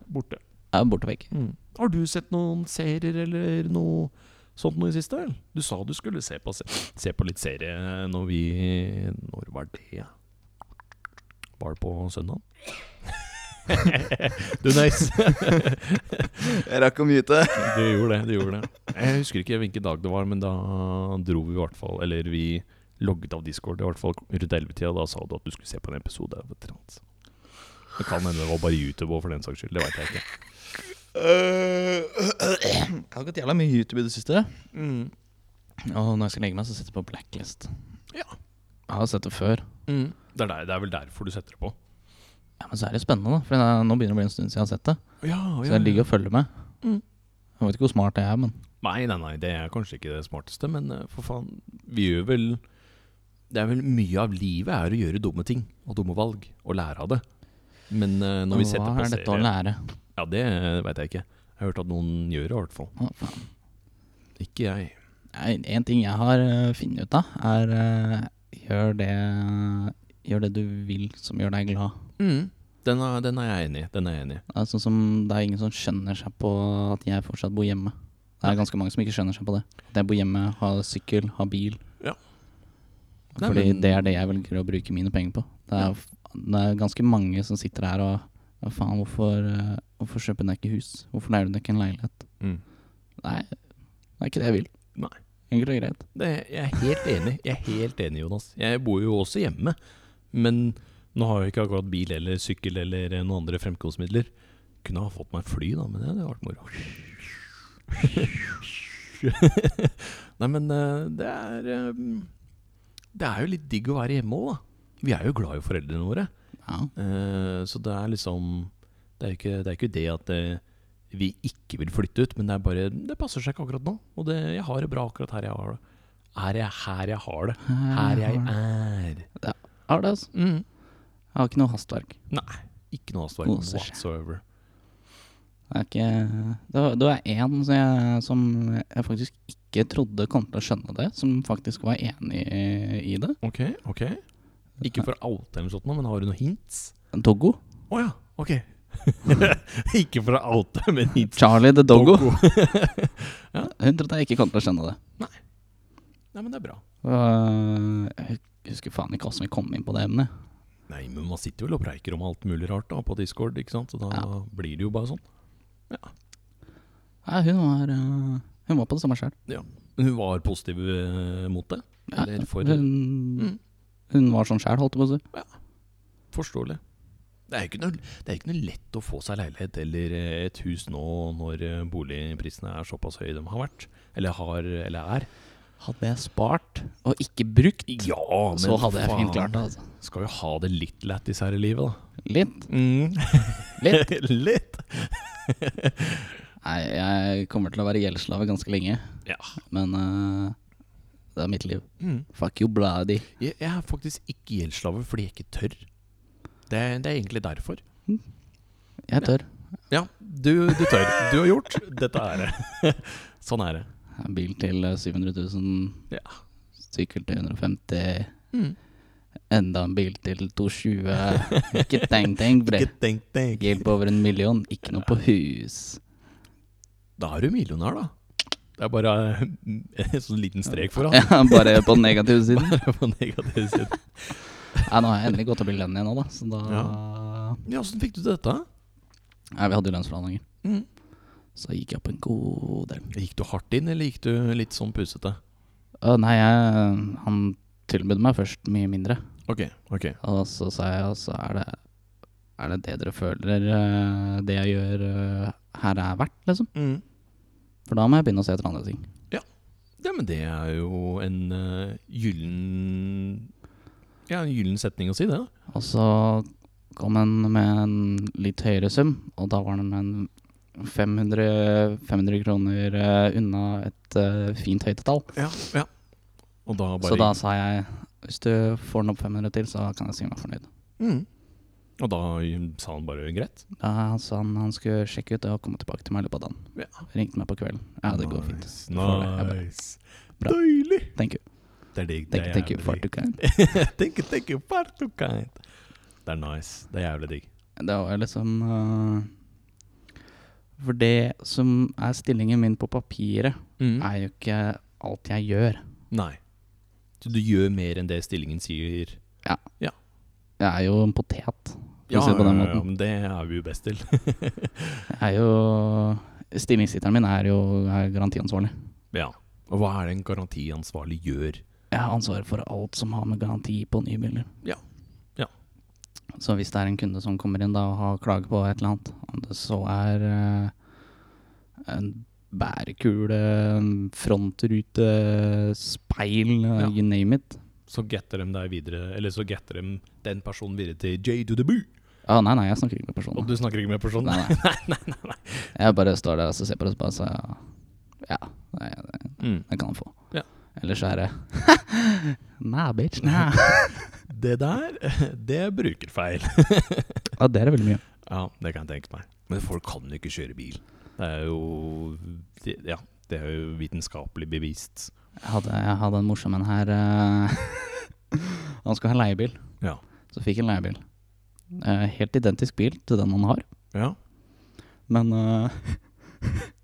A: Borte.
B: Jeg er borte vekk.
A: Har du sett noen serier eller noe sånt noe i siste? Eller? Du sa du skulle se på, se, se på litt serie når vi Når var det? Var det på søndag? *laughs* du nøys.
B: *laughs* Jeg rakk å myte.
A: Du gjorde det. du gjorde det Jeg husker ikke hvilken dag det var, men da dro vi i hvert fall Eller vi logget av Discord i hvert fall rundt 11-tida. Da sa du at du skulle se på en episode. av et eller annet. Det kan hende det var bare YouTube også, for den saks skyld. Det veit jeg ikke.
B: Øh, jeg har gått jævla mye YouTube i det siste.
A: Mm.
B: Og når jeg skal legge meg, så setter jeg på Blacklist.
A: Ja.
B: Jeg har sett det før.
A: Det, er der, det er vel derfor du setter det på?
B: Ja, Men så er det spennende, da. For det er, nå begynner det å bli en stund siden jeg har sett det.
A: Ja,
B: Så jeg ligger og følger med.
A: Mm.
B: Jeg vet ikke hvor smart jeg er, men
A: Nei, nei, nei, det er kanskje ikke det smarteste, men eh, for faen Vi gjør vel Det er vel mye av livet er å gjøre dumme ting og dumme valg, og lære av det. Men eh, når vi setter
B: hva
A: på
B: er dette å
A: serie
B: lære?
A: Ja, det veit jeg ikke. Jeg har hørt at noen gjør det, i hvert fall.
B: Å, faen.
A: Ikke jeg.
B: Nei, En ting jeg har eh, funnet ut av, er eh, gjør det Gjør det du vil som gjør deg glad.
A: Mm. Den, er, den er jeg enig i. Den er jeg enig i.
B: Det er sånn som det er ingen som skjønner seg på at jeg fortsatt bor hjemme. Det er ganske mange som ikke skjønner seg på det. At jeg bor hjemme, har sykkel, har bil.
A: Ja. Nei,
B: Fordi
A: men-
B: det er det jeg velger å bruke mine penger på. Det er, det er ganske mange som sitter her og Hva faen, hvorfor, eh, hvorfor kjøper du deg ikke hus? Hvorfor leier du deg ikke en leilighet? Nei, det er ikke det jeg vil.
A: Mm. Nei.
B: Enkelt og greit.
A: Det, jeg er helt enig. Jeg er helt enig, Jonas. Jeg bor jo også hjemme. Men nå har jeg ikke akkurat bil eller sykkel eller eh, noen andre fremkomstmidler. Kunne ha fått meg fly, da, men det hadde vært moro. *laughs* Nei, men eh, det er eh, Det er jo litt digg å være hjemme òg, da. Vi er jo glad i foreldrene våre.
B: Ja.
A: Eh, så det er liksom Det er jo ikke det, er ikke det at eh, vi ikke vil flytte ut, men det er bare Det passer seg ikke akkurat nå. Og det, jeg har det bra akkurat her jeg har det. Er jeg her jeg har det? Her jeg er.
B: har det, altså.
A: Mm.
B: Jeg har ikke noe hastverk.
A: Nei. Ikke noe hastverk
B: Koser seg.
A: whatsoever.
B: Det er ikke Det var- det var én som jeg, som jeg faktisk ikke trodde kom til å skjønne det, som faktisk var enig i, i det.
A: Ok, ok. Ikke for oute eller noe sånt, nå, men har du noen hints?
B: Doggo.
A: Å ja, ok. *laughs* ikke for å oute, men hints.
B: Charlie the Doggo.
A: Ja.
B: Hun trodde jeg ikke kom til å skjønne det.
A: *laughs* Nei, men det er bra.
B: Og Jeg husker faen ikke hvordan vi kom inn på det emnet.
A: Nei, men man sitter vel og preiker om alt mulig rart da på Discord, ikke sant? Så da
B: Ja.
A: blir det jo bare sånn.
B: Nei, hun var eh, Hun var på det samme sjøl.
A: Men hun var positiv eh, mot det? Eller for
B: Hun,
A: Mm.
B: hun var sånn sjæl, holdt jeg på å si.
A: Forståelig. Det er jo ikke noe, det er jo ikke noe lett å få seg leilighet eller eh, et hus nå når eh, boligprisene er såpass høye de har vært. Eller har, eller er.
B: Hadde jeg spart og ikke brukt,
A: Ja, men
B: så hadde jeg fint
A: faen,
B: klart det. Altså.
A: Skal jo ha det litt lættis her i livet, da.
B: Litt. Mm.
A: *laughs*
B: Litt.
A: litt. litt.
B: Nei, jeg kommer til å være gjeldsslave ganske lenge.
A: Ja.
B: Men eh, det er mitt liv.
A: Mm.
B: Fuck you, bloody.
A: Jeg, jeg er faktisk ikke gjeldsslave fordi jeg ikke tør. Det, er- det er egentlig derfor.
B: Jeg tør.
A: Ja, du, du tør. *laughs* Du har gjort. Dette er det. *laughs* Sånn er det.
B: Jeg har Bil til eh, 700 000.
A: Ja.
B: Sykkel til 150 Enda en bil til 220 Ikke
A: *laughs*
B: tenk, tenk, bre.
A: tenk deg.
B: Gjeld på over en million. Ikke noe på hus.
A: Da er du millionær, da. Det er bare *laughs* en sånn liten strek foran. *laughs*
B: *laughs* Ja, bare på den negative siden.
A: Bare på negativ side.
B: Nei, nå har jeg endelig gått opp i lønn igjen nå, da. Så da
A: Ja, åssen fikk du til dette?
B: Nei, Vi hadde jo lønnsforhandlinger.
A: Mm.
B: Så gikk jeg opp en god del.
A: Gikk du hardt inn, eller gikk du litt sånn pusete?
B: Å, nei, jeg, han tilbød meg først mye mindre.
A: Ok, ok.
B: Og så sa jeg altså er det, er det det dere føler eh, det jeg gjør eh, her er verdt, liksom?
A: Mm.
B: For da må jeg begynne å se etter andre ting.
A: Ja, men det er jo en uh, gyllen Ja, en gyllen setning å si, det. da.
B: Og så kom han med en litt høyere sum, og da var han en 500, 500 kroner eh, unna et eh, fint høyt tall.
A: Ja, ja. Og da bare
B: Så da sa jeg hvis du får den opp 500 til, så kan jeg si meg fornøyd.
A: mm. Og da sa han bare greit.
B: Da sa han han skulle sjekke ut det og komme tilbake til meg i løpet av dagen.
A: Ja.
B: Ringte meg på kvelden. Ja, det går fint.
A: Nice,
B: Du får det. Jeg bare,
A: Nice.
B: Bra.
A: Deilig!
B: Thank you.
A: Det er digg.
B: Thank you, thank you for to kind.
A: *laughs* thank you, thank you for to kind. Det er nice. Det er jævlig digg.
B: Det var liksom øh, For det som er stillingen min på papiret,
A: Mm.
B: er jo ikke alt jeg gjør.
A: Nei. Så du gjør mer enn det stillingen sier?
B: Jeg er jo en potet, for å si det på den
A: ja,
B: måten.
A: men det er vi jo best til.
B: Jeg er jo Stillingshitteren min er jo er garantiansvarlig.
A: *laughs* ja. Og hva er det en garantiansvarlig gjør?
B: Jeg har ansvaret for alt som har med garanti på nye biler.
A: Ja. Ja.
B: Så hvis det er en kunde som kommer inn da og har klage på et eller annet, om det så er eh, en bærekule, en frontrute, speil, eh,
A: Ja.
B: you name it.
A: Så getter de deg videre Eller så getter de den personen videre til J to the boo!
B: Ah, nei, nei, jeg snakker ikke med
A: Og
B: personen.
A: du snakker ikke med personen?
B: Nei,
A: *laughs*
B: nei. Jeg bare står der og så ser på det og så bare så Ja, nei, det,
A: Mm.
B: det kan han få.
A: Ja.
B: Ellers er det *laughs* Nah, bitch.
A: *laughs*
B: Nah.
A: Det der, *laughs* det er brukerfeil. *laughs*
B: Ja, det er det veldig mye.
A: Ja, det kan jeg tenke meg. Men folk kan jo ikke kjøre bil. Det er jo det- Ja, det er jo vitenskapelig bevist.
B: Jeg hadde, jeg hadde en morsom en her. eh, *laughs* han skulle ha leiebil.
A: Ja.
B: Så fikk han leiebil. Eh, helt identisk bil til den han har,
A: Ja.
B: men eh,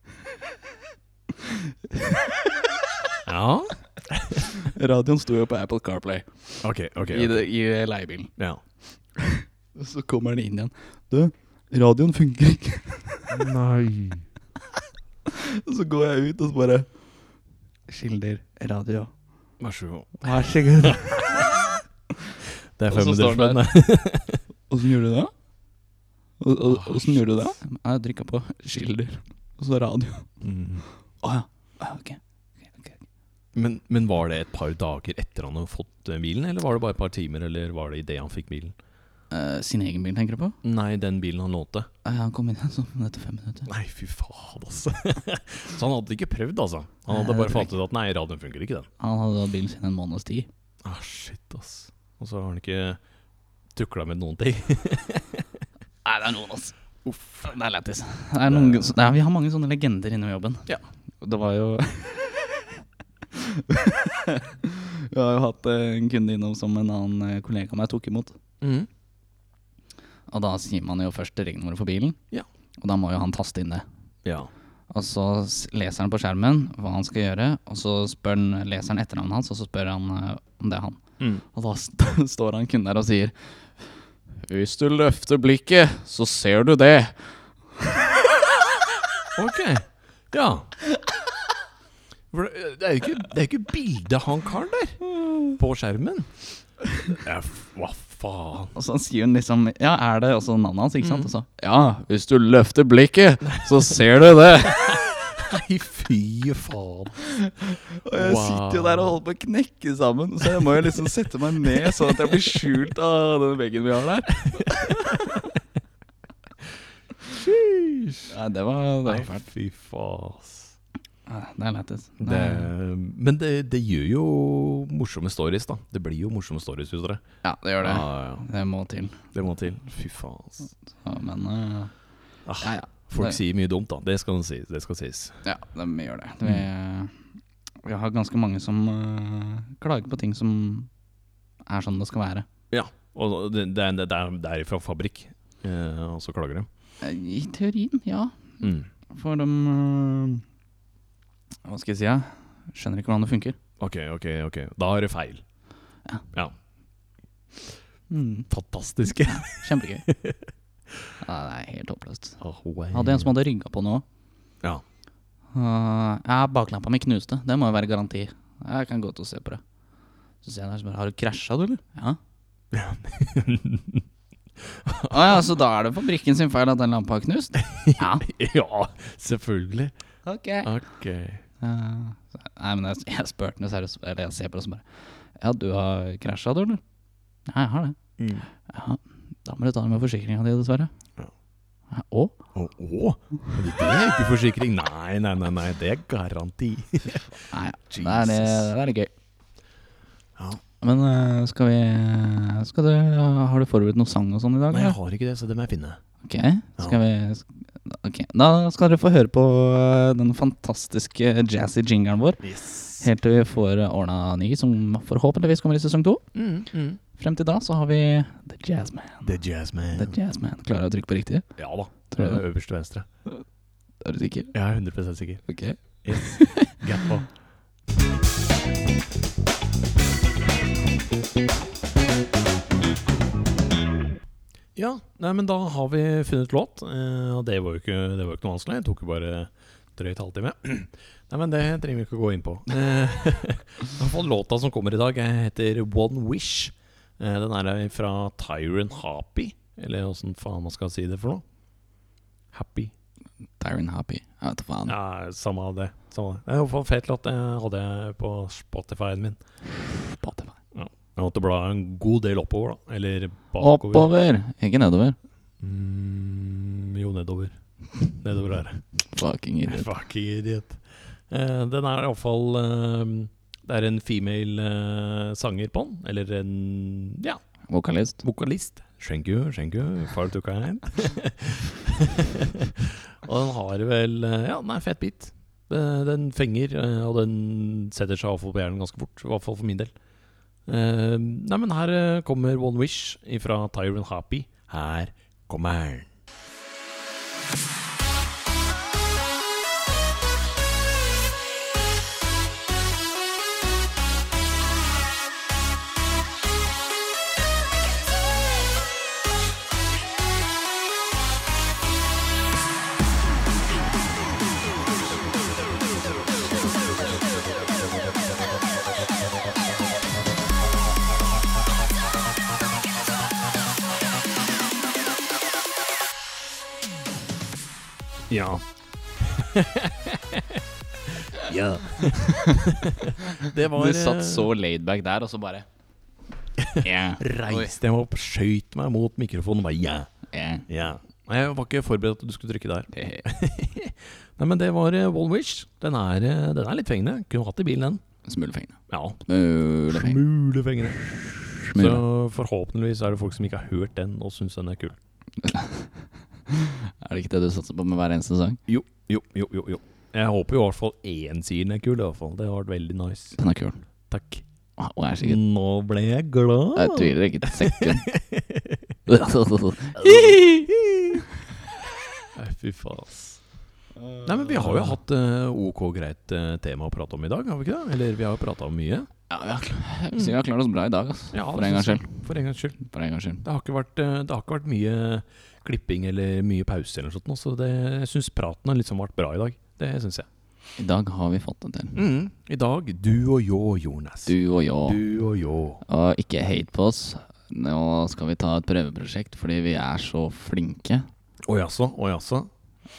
B: *laughs*
A: ja.
B: radioen sto jo på Apple Carplay
A: Ok, ok.
B: i,
A: ok.
B: det- i leiebilen.
A: Ja.
B: *laughs* Så kommer han inn igjen. Du, radioen funker ikke. *laughs*
A: Nei.
B: Og *laughs* så går jeg ut og så bare Skilder radio.
A: Vær så god.
B: Vær så god.
A: Det er
B: Og så står
A: 500 *laughs*
B: den
A: spenn.
B: *laughs* Åssen gjorde du det? Og- og-
A: Ah,
B: Åssen gjorde du det? Jeg drikka på skilder, og så radio.
A: Mm.
B: Å ja. Ah, ok. Ok, ok.
A: Men, men var det et par dager etter han hadde fått eh, bilen, eller var det bare et par timer, eller var det idet han fikk bilen?
B: Eh, sin egen bil, tenker du på?
A: Nei, den bilen han lånte.
B: Eh, han kom inn igjen sånn etter fem minutter.
A: Nei, fy faen, *laughs* altså. Så han hadde ikke prøvd, altså. Han
B: Nei,
A: hadde
B: det
A: bare
B: tror jeg
A: fant ut at nei, radioen funker ikke, den.
B: Han hadde hatt bilen sin en måneds tid.
A: Ah, shit, ass. Og så har han ikke tukla med noen ting. *laughs*
B: Nei, det er noen, altså. Uff. Det er lættis. Det er noen, så- det er, vi har mange sånne legender innom jobben.
A: Ja.
B: Det var jo *laughs* Vi har jo hatt eh, en kunde innom som en annen eh, kollega av meg tok imot.
A: Mm.
B: Og da sier man jo først regneordet for bilen,
A: Ja.
B: og da må jo han taste inn det.
A: Ja.
B: Og så s- leser han på skjermen hva han skal gjøre, og så spør han, leser han etternavnet hans, og så spør han eh, om det er han. Og da st *laughs* står han kun der og sier Hvis du løfter blikket, så ser du det.
A: Ok. Ja. For det det er jo ikke, det er jo ikke bildet av han karen der på skjermen. Ja, f- hva faen.
B: Og så sier hun liksom Ja, er det også navnet hans? ikke sant? Og så Mm. Ja, hvis du løfter blikket, så ser du det.
A: Nei, fy faen.
B: *laughs* Og jeg sitter jo der og holder på å knekke sammen, så jeg må jo liksom sette meg ned sånn at jeg blir skjult av den veggen vi har der. Nei, det var, det var
A: Nei,
B: fælt.
A: fy faen. ass.
B: Nei, Det er lættis.
A: Det, men det, det gjør jo morsomme stories, da. Det blir jo morsomme stories hos dere.
B: Ja, det gjør det.
A: Ja, ja,
B: Det må til.
A: ja. Det må til. Fy faen. ass.
B: Ja, men eh,
A: Ah,
B: ja, ja.
A: Folk
B: Det-
A: sier mye dumt, da. Det skal sies. Det skal sies.
B: Ja, de gjør det. Vi, eh, vi har ganske mange som eh, klager på ting som er sånn det skal være.
A: Ja. Og det, det, er- det, er- det er fra fabrikk. Eh, og så klager de.
B: Eh, I teorien, ja.
A: Mm.
B: For de øh, Hva skal jeg si? Ja? Skjønner ikke hvordan det funker.
A: Ok, ok, ok. Da er det feil.
B: Ja.
A: ja.
B: Mm, *laughs*
A: Fantastisk.
B: kjempegøy. ja, det er helt håpløst.
A: Oh, wow.
B: Jeg hadde en som hadde rygga på noe.
A: Ja. *laughs*
B: Uh, ja, baklampa mi knuste. Det må jo være garanti. Jeg kan gå til å se på det. Så sier jeg der som bare Har du krasja, du, eller? Ja. *laughs* Å ja, så da er det fabrikken sin feil at den lampa har knust? Ja.
A: ja, selvfølgelig.
B: *laughs* Ok.
A: Ok.
B: Uh, så- nei, men jeg, jeg spurte henne seriøst, eller jeg ser på det som bare Ja, du har krasja, du, eller? Ja, jeg har det.
A: Mm.
B: Ja, da må du ta det med forsikringa di, dessverre.
A: Ja.
B: Hæ, Å?
A: Å, å, men det er ikke forsikring. Nei, nei, nei, nei, det er garanti.
B: Nei, det er, det, det er litt gøy.
A: Ja.
B: Men øh, skal vi eh, skal du, Har du forberedt noe sang og sånn i dag?
A: Nei, jeg
B: eller?
A: har ikke det, så det må jeg finne.
B: Ok, skal vi Ok, Da skal dere få høre på øh, den fantastiske jazzy jingeren vår.
A: Yes.
B: Helt til vi får øh, ordna ny, som forhåpentligvis kommer i sesong to.
A: Mm,
B: Frem til da så har vi The Jazzman.
A: The Jazzman.
B: The Jazzman. Klarer jeg å trykke på riktig?
A: Ja da.
B: Tror du det?
A: Øverst til venstre.
B: Er du sikker?
A: Jeg er 100 sikker.
B: Ok.
A: Yes. Get på. Ja, nei, men da har vi funnet låt. eh, Og det var jo ikke, det var jo ikke noe vanskelig. Det tok jo bare drøyt halvtime. *clears throat* Nei, men det trenger vi ikke å gå inn på. *laughs* Eh, I hvert fall låta som kommer i dag, eh, heter One Wish. Eh, Den er fra Tyron Happy, eller åssen faen man skal si det for noe. Happy.
B: Tyron Happy. Jeg vet da faen.
A: Ja, samme av det. Samme av det. det er i hvert fall en fet låt. Jeg hadde jeg på Spotify-en min.
B: Spotify.
A: Jeg måtte bla en god del oppover, da. Eller bakover.
B: Oppover, ikke nedover.
A: Mm, jo, nedover. Nedover her.
B: Fucking idiot.
A: Fuck idiot. Eh, den er iallfall eh, Det er en female eh, sanger på den. Eller en ja,
B: Vokalist.
A: vokalist. Thank you, thank you, far to
B: *laughs*
A: kind. *laughs* og den har vel eh, Ja, den er fett bit. Eh, Den fenger, eh, og den setter seg iallfall på hjernen ganske fort. I hvert fall for min del. Eh, Nei, men her eh, kommer One Wish fra Tyron Happy. Her kommer den. Ja. *laughs*
B: *laughs*
A: ja. det var
B: Du
A: eh,
B: satt så laidback der, og så
A: *laughs*
B: bare yeah.
A: Reiste jeg meg opp, skøyt meg mot mikrofonen og bare ja,
B: Yeah.
A: ja. Nei, Jeg var ikke forberedt at du skulle trykke der.
B: Det-
A: Nei, men det var eh, One Wish. Den er, eh, den er litt fengende. Kunne hatt i bilen, den.
B: Smulefengende.
A: Ja.
B: Smulefengende.
A: Smulefengende. Så
B: Smule.
A: forhåpentligvis er det folk som ikke har hørt den og syns den er kul.
B: Er det ikke det du satser på med hver eneste sang?
A: Jo, jo, jo, jo. jo. Jeg håper jo i hvert fall én sier den er kul. i hvert fall Det har vært veldig nice.
B: Den er kul.
A: Takk.
B: Wow, jeg er sikkert
A: Nå ble jeg glad.
B: Jeg tviler ikke et
A: *laughs*
B: sekund.
A: Nei, fy faen, ass. Nei, men vi har jo hatt eh, OK greit eh, tema å prate om i dag, har vi ikke det? Eller vi har jo prata om mye.
B: Ja, vi har, klar, vi har klart oss bra i dag, ass.
A: Ja,
B: For
A: det
B: en gangs
A: synes
B: skyld.
A: For en gangs skyld.
B: For en gangs skyld.
A: Det har ikke vært, eh, det har ikke vært mye klipping eller mye pause eller noe sånt, nå, så det, jeg syns praten har liksom vært bra i dag. Det syns jeg.
B: I dag har vi fått det til.
A: I dag, du og jå, Jonas.
B: Du og jeg.
A: Mm. Du og jå.
B: Og ikke hate på oss. Nå skal vi ta et prøveprosjekt fordi vi er så flinke.
A: Å jaså, å jaså.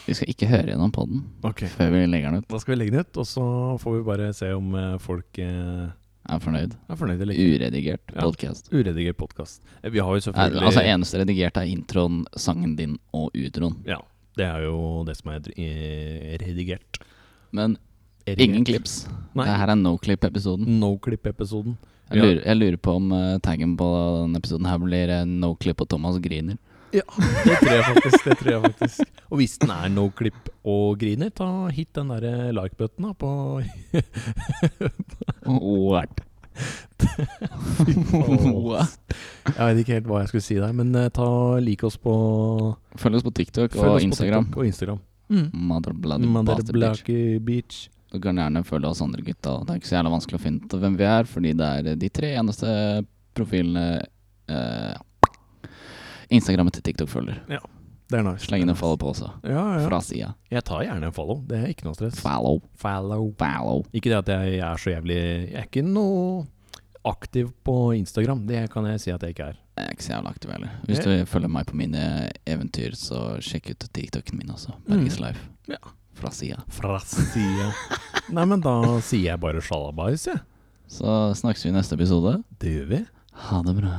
B: Vi skal ikke høre gjennom podden
A: Ok.
B: før vi legger den ut.
A: Da skal vi legge den ut, og så får vi bare se om eh, folk eh,
B: Jeg er fornøyd.
A: er fornøyd eller ikke.
B: Uredigert
A: Ja.
B: podcast.
A: Uredigert podkast. Vi har jo
B: Er,
A: selvfølgelig
B: altså Eneste redigert er introen, sangen din og utroen.
A: Ja, det er jo det som er dr- eh, redigert.
B: Men
A: Erigert.
B: ingen klips.
A: Nei.
B: Det her er no clip-episoden.
A: No clip-episoden.
B: Jeg,
A: Ja.
B: lurer- jeg lurer på om eh, taggen på denne episoden her blir eh, no clip og Thomas griner.
A: Ja, det tror jeg faktisk. det tror jeg faktisk Og hvis den er no clip og griner, ta hit den derre like-button da på *laughs*
B: What? *laughs* What?
A: Jeg vet ikke helt hva jeg skulle si der, men eh, ta like oss på
B: Følg oss på TikTok
A: Følg
B: og
A: oss på
B: Instagram.
A: TikTok og Instagram. Mm.
B: Mother bloody bastard bitch.
A: Motherblake beach.
B: Du kan gjerne følge oss andre gutta. og Det er ikke så jævla vanskelig å finne ut hvem vi er, fordi det er de tre eneste profilene eh, Instagrammet til TikTok følger.
A: Det er nice.
B: Sleng inn en follow på også.
A: Ja, ja.
B: Fra sida.
A: Jeg tar gjerne en follow. Det er ikke noe stress.
B: Follow,
A: Follow.
B: follow.
A: Ikke det at jeg er så jævlig Jeg er ikke noe aktiv på Instagram. Det kan jeg si at jeg ikke er.
B: Jeg er eh, ikke så jævla aktiv heller. Hvis du følger meg på mine eventyr, så sjekk ut TikToken min også. Berges Life.
A: Mm. Ja.
B: Fra sida.
A: Fra sida. Nei, men da sier jeg bare sjalabais, jeg.
B: Så snakkes vi i neste episode.
A: Det gjør vi.
B: Ha det bra.